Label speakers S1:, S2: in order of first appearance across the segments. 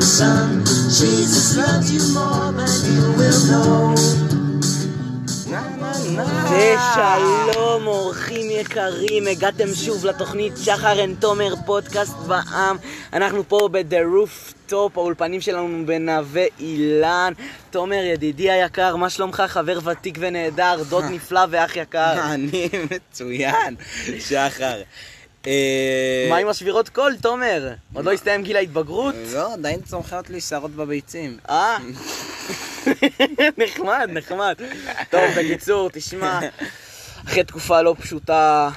S1: son. Jesus loves you more than you will know. Na, na, na.
S2: ושלום אורחים יקרים, הגעתם שוב לתוכנית שחר אנד תומר פודקאסט בעם. אנחנו פה ב-The Rooftop, האולפנים שלנו בנווה אילן. תומר ידידי היקר, מה שלומך? חבר ותיק ונהדר, דוד נפלא ואח יקר.
S3: אני מצוין, שחר. אה,
S2: מה עם השבירות קול, תומר? עוד לא הסתיים גיל ההתבגרות?
S3: לא, עדיין צומחות לי שערות בביצים.
S2: אה? נחמד, נחמד. טוב, בקיצור, תשמע, אחרי תקופה לא פשוטה,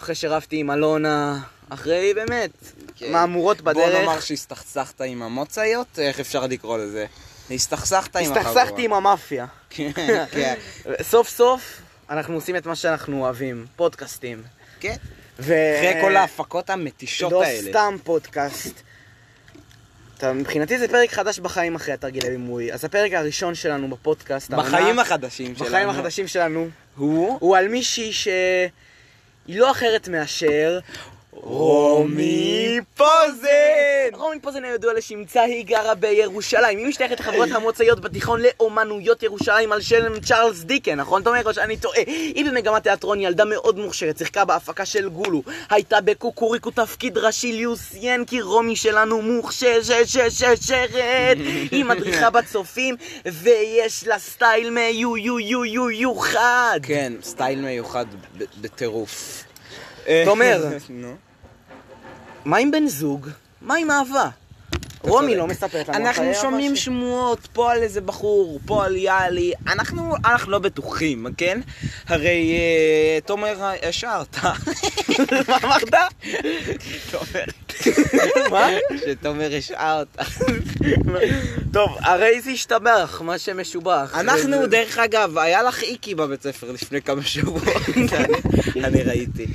S2: אחרי שרבתי עם אלונה, אחרי באמת,
S3: כן.
S2: מהמורות
S3: בוא
S2: בדרך,
S3: נאמר שהסתכסכת עם המוצאיות, איך אפשר לקרוא לזה? הסתכסכת עם החבורה.
S2: הסתכסכתי עם המאפיה.
S3: כן, כן,
S2: סוף סוף, אנחנו עושים את מה שאנחנו אוהבים, פודקאסטים.
S3: כן.
S2: ו...
S3: אחרי כל ההפקות המתישות
S2: אה, לא
S3: האלה.
S2: סתם פודקאסט. אתה, מבחינתי זה פרק חדש בחיים אחרי התרגיל הבימוי. אז הפרק הראשון שלנו בפודקאסט,
S3: בחיים
S2: העונה-
S3: החדשים שלנו.
S2: בחיים החדשים שלנו,
S3: הוא
S2: הוא על מישהי שהיא לא אחרת מאשר
S3: רומי פוזן!
S2: רומי פוזן הידוע לשמצה, היא גרה בירושלים. היא משתייכת לחברות המוצאיות בתיכון לאומנויות ירושלים על שם צ'ארלס דיקן, נכון תומר? או שאני טועה. היא במגמת תיאטרון, ילדה מאוד מוכשרת, שיחקה בהפקה של גולו. הייתה בקוקוריקו תפקיד ראשי ליוסיין, כי רומי שלנו מוכשרת. היא מדריכה בצופים, ויש לה סטייל מיוחד.
S3: כן, סטייל מיוחד ב- בטירוף.
S2: תומר.
S3: נו.
S2: מה עם בן זוג? מה עם אהבה? רומי
S3: צודק.
S2: לא מספרת לנו.
S3: אנחנו
S2: אחרי
S3: שומעים
S2: אהבה ש-
S3: שמועות פה על איזה בחור, פה על יאלי, אנחנו, אנחנו לא בטוחים, כן? הרי אה, תומר ישר, אתה... מה אמרת? תומר.
S2: מה?
S3: שתומר ישר אותה.
S2: טוב, הרי זה השתבח, מה שמשובח.
S3: אנחנו,
S2: זה-
S3: דרך אגב, היה לך איקי בבית ספר לפני כמה שבועות, אני- אני ראיתי.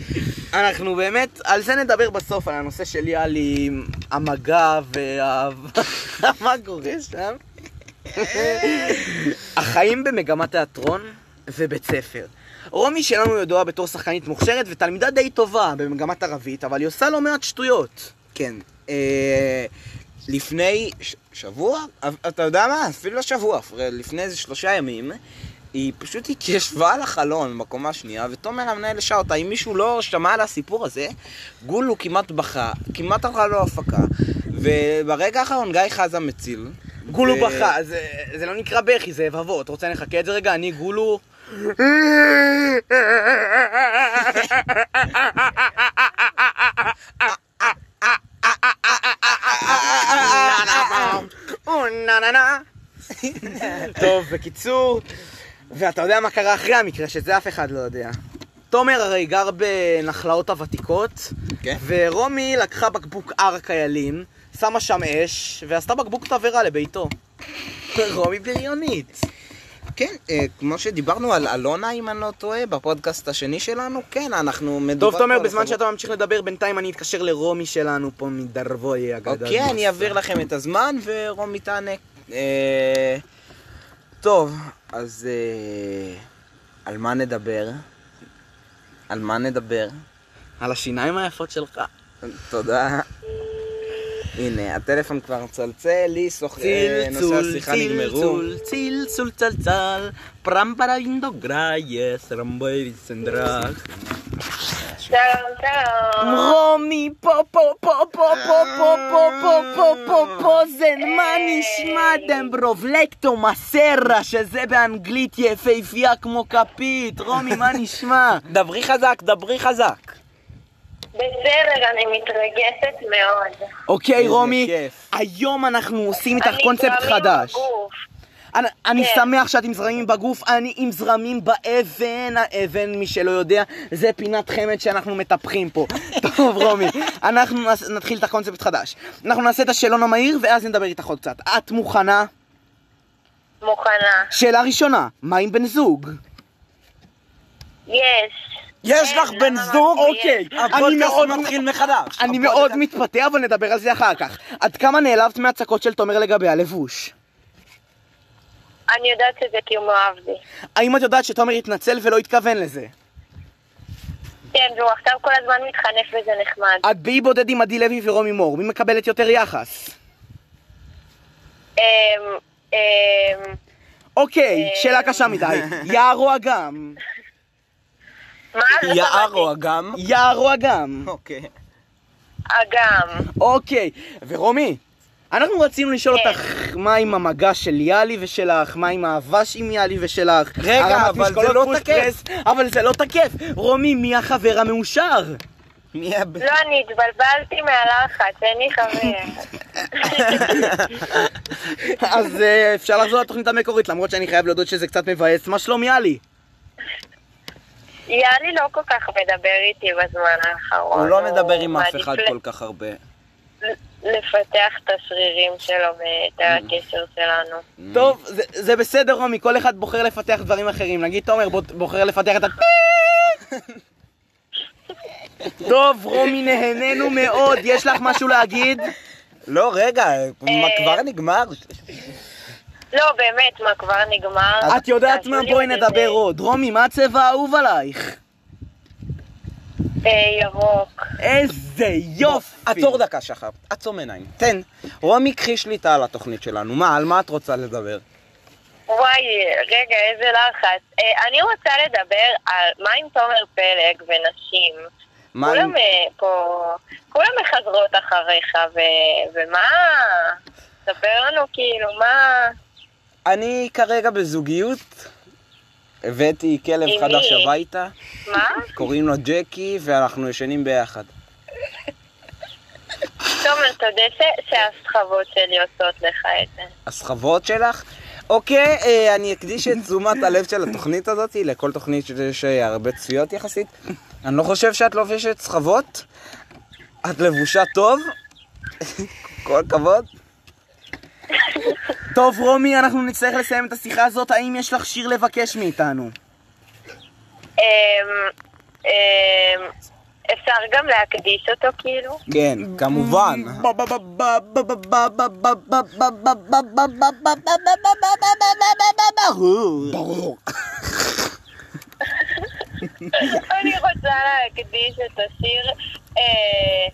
S2: אנחנו באמת, על זה נדבר בסוף, על הנושא של יאלי, עם המגע והאהבה. מה קורה שם? החיים במגמת תיאטרון ובית ספר. רומי שלנו ידועה בתור שחקנית מוכשרת ותלמידה די טובה במגמת ערבית, אבל היא עושה לא מעט שטויות.
S3: כן. אה, לפני ש- שבוע, אב- אתה יודע מה? אפילו לא שבוע, פר- לפני איזה שלושה ימים, היא פשוט התיישבה על החלון בקומה השנייה, ותומר המנהל השעה אותה, אם מישהו לא שמע על הסיפור הזה, גולו כמעט בכה, כמעט הלכה לו הפקה, וברגע האחרון גיא חזה מציל.
S2: גולו
S3: ו-
S2: בכה, זה, זה לא נקרא בכי, זה לבבות. רוצה נחכה את זה רגע? אני גולו... או, נה, נה, נה. טוב, בקיצור, ואתה יודע מה קרה אחרי המקרה, שזה אף אחד לא יודע. תומר הרי גר בנחלאות הוותיקות,
S3: כן.
S2: ורומי לקחה בקבוק הר קיילים, שמה שם אש, ועשתה בקבוק תבערה לביתו. רומי בריונית.
S3: כן, אה, כמו שדיברנו על אלונה, אם אני לא טועה, בפודקאסט השני שלנו, כן, אנחנו מדובר...
S2: טוב,
S3: פה
S2: תומר,
S3: על
S2: בזמן
S3: החברות-
S2: שאתה ממשיך לדבר, בינתיים אני אתקשר לרומי שלנו פה מדרבוי הגדול.
S3: אוקיי, אני אעביר לכם את הזמן ורומי תענה. אה, טוב, אז אה, על מה נדבר? על מה נדבר?
S2: על השיניים היפות שלך.
S3: תודה. הנה, הטלפון כבר מצלצל, לי סוח... אה, נושא
S2: צלצול,
S3: השיחה נגמרו.
S2: צלצול, צלצול, צלצל, פרמפרה אינדוגרייס, רמבוי ויסנדרק.
S4: שלום, שלום.
S2: רומי, פה, פה, פה, פה, פה, פה, פה, פה, פה, פה, פה, זה מה
S4: אה.
S2: נשמע דמברובלקטו מסרה, שזה באנגלית יפהפייה כמו כפית. רומי, מה נשמע?
S3: דברי חזק, דברי חזק.
S4: בסדר, אני מתרגשת מאוד.
S2: אוקיי,
S3: איזה
S2: רומי,
S3: כיף.
S2: היום אנחנו עושים איתך
S4: אני
S2: קונספט
S4: זרמים
S2: חדש.
S4: בגוף.
S2: אני, אני
S4: כן.
S2: שמח שאת עם זרמים בגוף, אני עם זרמים באבן. האבן, מי שלא יודע, זה פינת חמד שאנחנו מטפחים פה. טוב, רומי, אנחנו נס- נתחיל את הקונספט חדש. אנחנו נעשה את השאלון המהיר, ואז נדבר איתך עוד קצת. את מוכנה?
S4: מוכנה.
S2: שאלה ראשונה, מה עם בן זוג?
S4: יש.
S3: יש
S4: כן,
S3: לך בן
S4: למה
S3: זוג?
S4: לא?
S2: אוקיי, אני
S3: הפודקאסט
S2: מאוד...
S3: מתחיל מחדש.
S2: אני
S3: הפודקאסט-
S2: מאוד מתפתה, אבל נדבר על זה אחר כך. עד כמה נעלבת מהצקות של תומר לגבי הלבוש?
S4: אני יודעת שזה כי הוא מאוהב בי.
S2: האם את יודעת שתומר התנצל ולא התכוון לזה?
S4: כן, והוא עכשיו כל הזמן מתחנף וזה נחמד.
S2: את באי בודד עם עדי לוי ורומי מור, מי מקבלת יותר יחס?
S4: אמ, אמ,
S3: אה.
S2: אוקיי, שאלה קשה מדי. יערו אגם.
S4: מה? לא
S3: יערו אגם.
S2: יערו אגם.
S3: אוקיי.
S4: שמעתי. אגם.
S2: אוקיי, ורומי, אנחנו רצינו לשאול
S3: כן.
S2: אותך מה עם המגע של יאלי ושלך, מה עם האבש עם יאלי ושלך.
S3: רגע,
S2: הרמת
S3: אבל זה
S2: משקולות
S3: לא
S2: פוש
S3: תקף.
S2: פרס, אבל זה לא תקף. רומי, מי החבר המאושר?
S3: מי הב...
S4: לא, אני התבלבלתי מהלחץ, אין לי חבר.
S2: אז אה, אפשר לחזור לתוכנית המקורית, למרות שאני חייב להודות שזה קצת מבאס. מה שלום יאלי?
S4: יאלי לא כל כך מדבר איתי בזמן האחרון.
S3: הוא לא מדבר עם אף אחד
S4: מעדיף
S3: כל כך הרבה.
S4: ל- לפתח את השרירים שלו
S3: Mm.
S4: ואת הקשר שלנו.
S2: טוב, זה- זה בסדר, רומי, כל אחד בוחר לפתח דברים אחרים. נגיד תומר בו- בוחר לפתח את ה... טוב, רומי, נהנינו מאוד. יש לך משהו להגיד?
S3: לא, רגע, מה, כבר נגמר?
S4: לא, באמת, מה, כבר נגמר?
S2: את יודעת מה?
S4: תעשו לי
S2: בואי
S4: עוד
S2: נדבר
S4: איזה-
S2: עוד. רומי, מה הצבע האהוב עלייך?
S4: אה, ירוק.
S2: איזה יופי!
S3: עצור דקה, שחר. עצום עיניים. תן. רומי, קחי שליטה על התוכנית שלנו. מה, על מה את רוצה לדבר?
S4: וואי, רגע, איזה לחץ. אה, אני רוצה לדבר על מה עם תומר פלג ונשים.
S3: מה עם-
S4: כולם אה, פה, כולם מחזרות אחריך, ו... ומה? ספר לנו כאילו, מה?
S3: אני כרגע בזוגיות. הבאתי כלב
S4: עם
S3: חדש
S4: מי?
S3: הביתה,
S4: מה?
S3: קוראים לו ג'קי, ואנחנו ישנים ביחד.
S4: תומר, תודה ש... שהסחבות שלי עושות לך את זה.
S3: הסחבות שלך. אוקיי, אה, אני אקדיש את תשומת הלב של התוכנית הזאת, לכל תוכנית שיש אה, הרבה צפיות יחסית. אני לא חושב שאת לובשת סחבות, את לבושה טוב, כל הכבוד.
S2: טוב, רומי, אנחנו נצטרך לסיים את השיחה הזאת. האם יש לך שיר לבקש מאיתנו?
S4: אמ, אמ, אפשר גם להקדיש אותו כאילו?
S3: כן, כמובן.
S2: ברור.
S4: אני רוצה להקדיש את השיר... אה,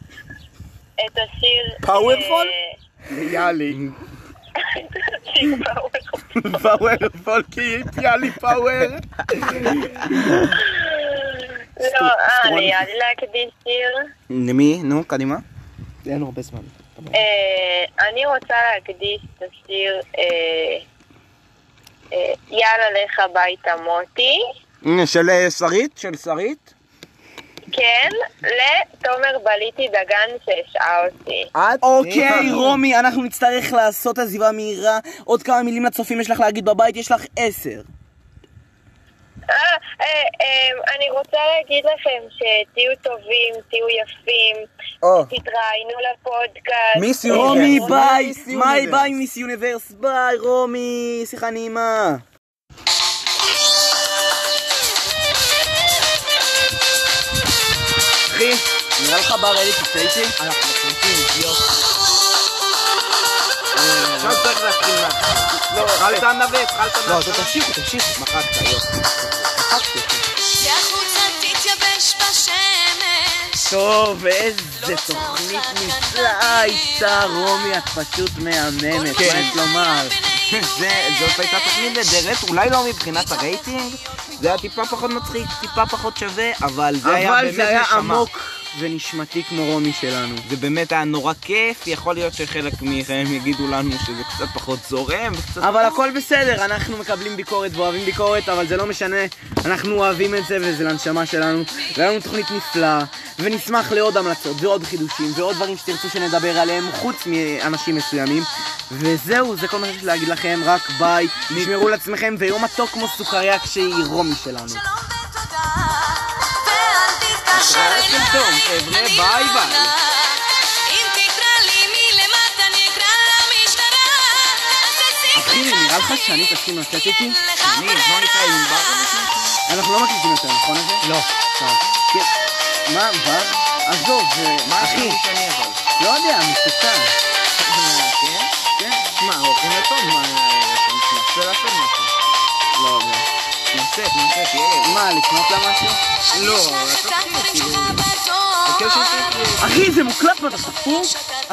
S4: את השיר...
S2: Powerful?
S4: אה,
S2: יאללה.
S4: את השיר Powerful.
S2: פאוור פולקי, יאללה פאוור.
S4: לא, אה, נראה לי להקדיש שיר.
S3: למי? נו, קדימה.
S2: אין הרבה זמן.
S4: אה, אני רוצה להקדיש את השיר אה, אה, יאללה לך הביתה מוטי,
S3: הנה, של אה, שרית? של שרית?
S4: כן, לתומר בליטי דגן שהשעה אותי.
S3: את? אה.
S2: אוקיי, רומי, אנחנו נצטרך לעשות עזיבה מהירה. עוד כמה מילים לצופים יש לך להגיד בבית, יש לך עשר.
S3: אוקיי.
S4: אה, אה, אה, אני רוצה להגיד לכם שתהיו טובים, תהיו יפים,
S3: או. כן.
S4: תתראיינו לפודקאסט.
S3: מיס יוניברס.
S2: רומי, ביי!
S3: מיס
S2: ביי
S3: יוניברס.
S2: ביי מיס יוניברס, ביי רומי! שיחה נעימה.
S3: אחי, נראה לך בר אלי תצא איתי? אנחנו מצליחים, יופי. עכשיו לא, צריך להתחיל מההתחלה. לא,
S2: אוקיי.
S3: התחלת לנווט, התחלת לנווט. לא, תמשיכו, תמשיכו. מחקת, יופי. מחקתי.
S5: והחוצה תתייבש בשמש.
S2: טוב, איזה תוכנית נפלאה הייתה, רומי, את פשוט מהממת, מה
S3: כן.
S2: יש לומר?
S3: זה- זאת הייתה תוכנית נהדרת, אולי לא מבחינת הרייטינג, זה היה טיפה פחות מצחיק, טיפה פחות שווה, אבל זה היה
S2: אבל
S3: באמת
S2: זה היה
S3: נשמה.
S2: עמוק ונשמתי כמו רומי שלנו.
S3: זה באמת היה נורא כיף, יכול להיות שחלק מכם יגידו לנו שזה קצת פחות זורם, וקצת...
S2: אבל הכל בסדר, אנחנו מקבלים ביקורת ואוהבים ביקורת, אבל זה לא משנה, אנחנו אוהבים את זה וזה לנשמה שלנו, והיה לנו תוכנית נפלאה, ונשמח לעוד המלצות ועוד חידושים ועוד דברים שתרצו שנדבר עליהם, חוץ מאנשים מסוימים. וזהו, זה כל מה שיש להגיד לכם, רק ביי, תשמרו לעצמכם, ויום מתוק כמו סוכריה כשהיא רומי שלנו.
S5: שלום ותודה, ואל תתקשר
S3: התראה
S5: אליי.
S3: פתאום, חבר'ה,
S5: אני
S3: ביי,
S5: לא
S3: ביי.
S5: עונה. אם תקרא לי מלמטה, נקרא למשטרה. אז תפסיק
S2: אחי, נראה לך
S5: לחייך.
S2: שאני תסכים לצאת איתי?
S5: אין לך
S3: אני, בוא נקרא עם בר
S2: אנחנו לא מקליטים יותר, נכון? לא. כן. מה, בר? עזוב, זה-
S3: מה
S2: אחי,
S3: הכי שאני אבל?
S2: לא יודע, מסוכן.
S3: כן? כן? שמע, הולכים לטוב, מה... אה, ננסה לעשות משהו.
S2: לא יודע.
S3: ננסה, ננסה, תהיה...
S2: מה, לפנות לה משהו?
S3: לא,
S5: בריחה בדואר.
S2: אחי, זה מוקלט ואתה ספור?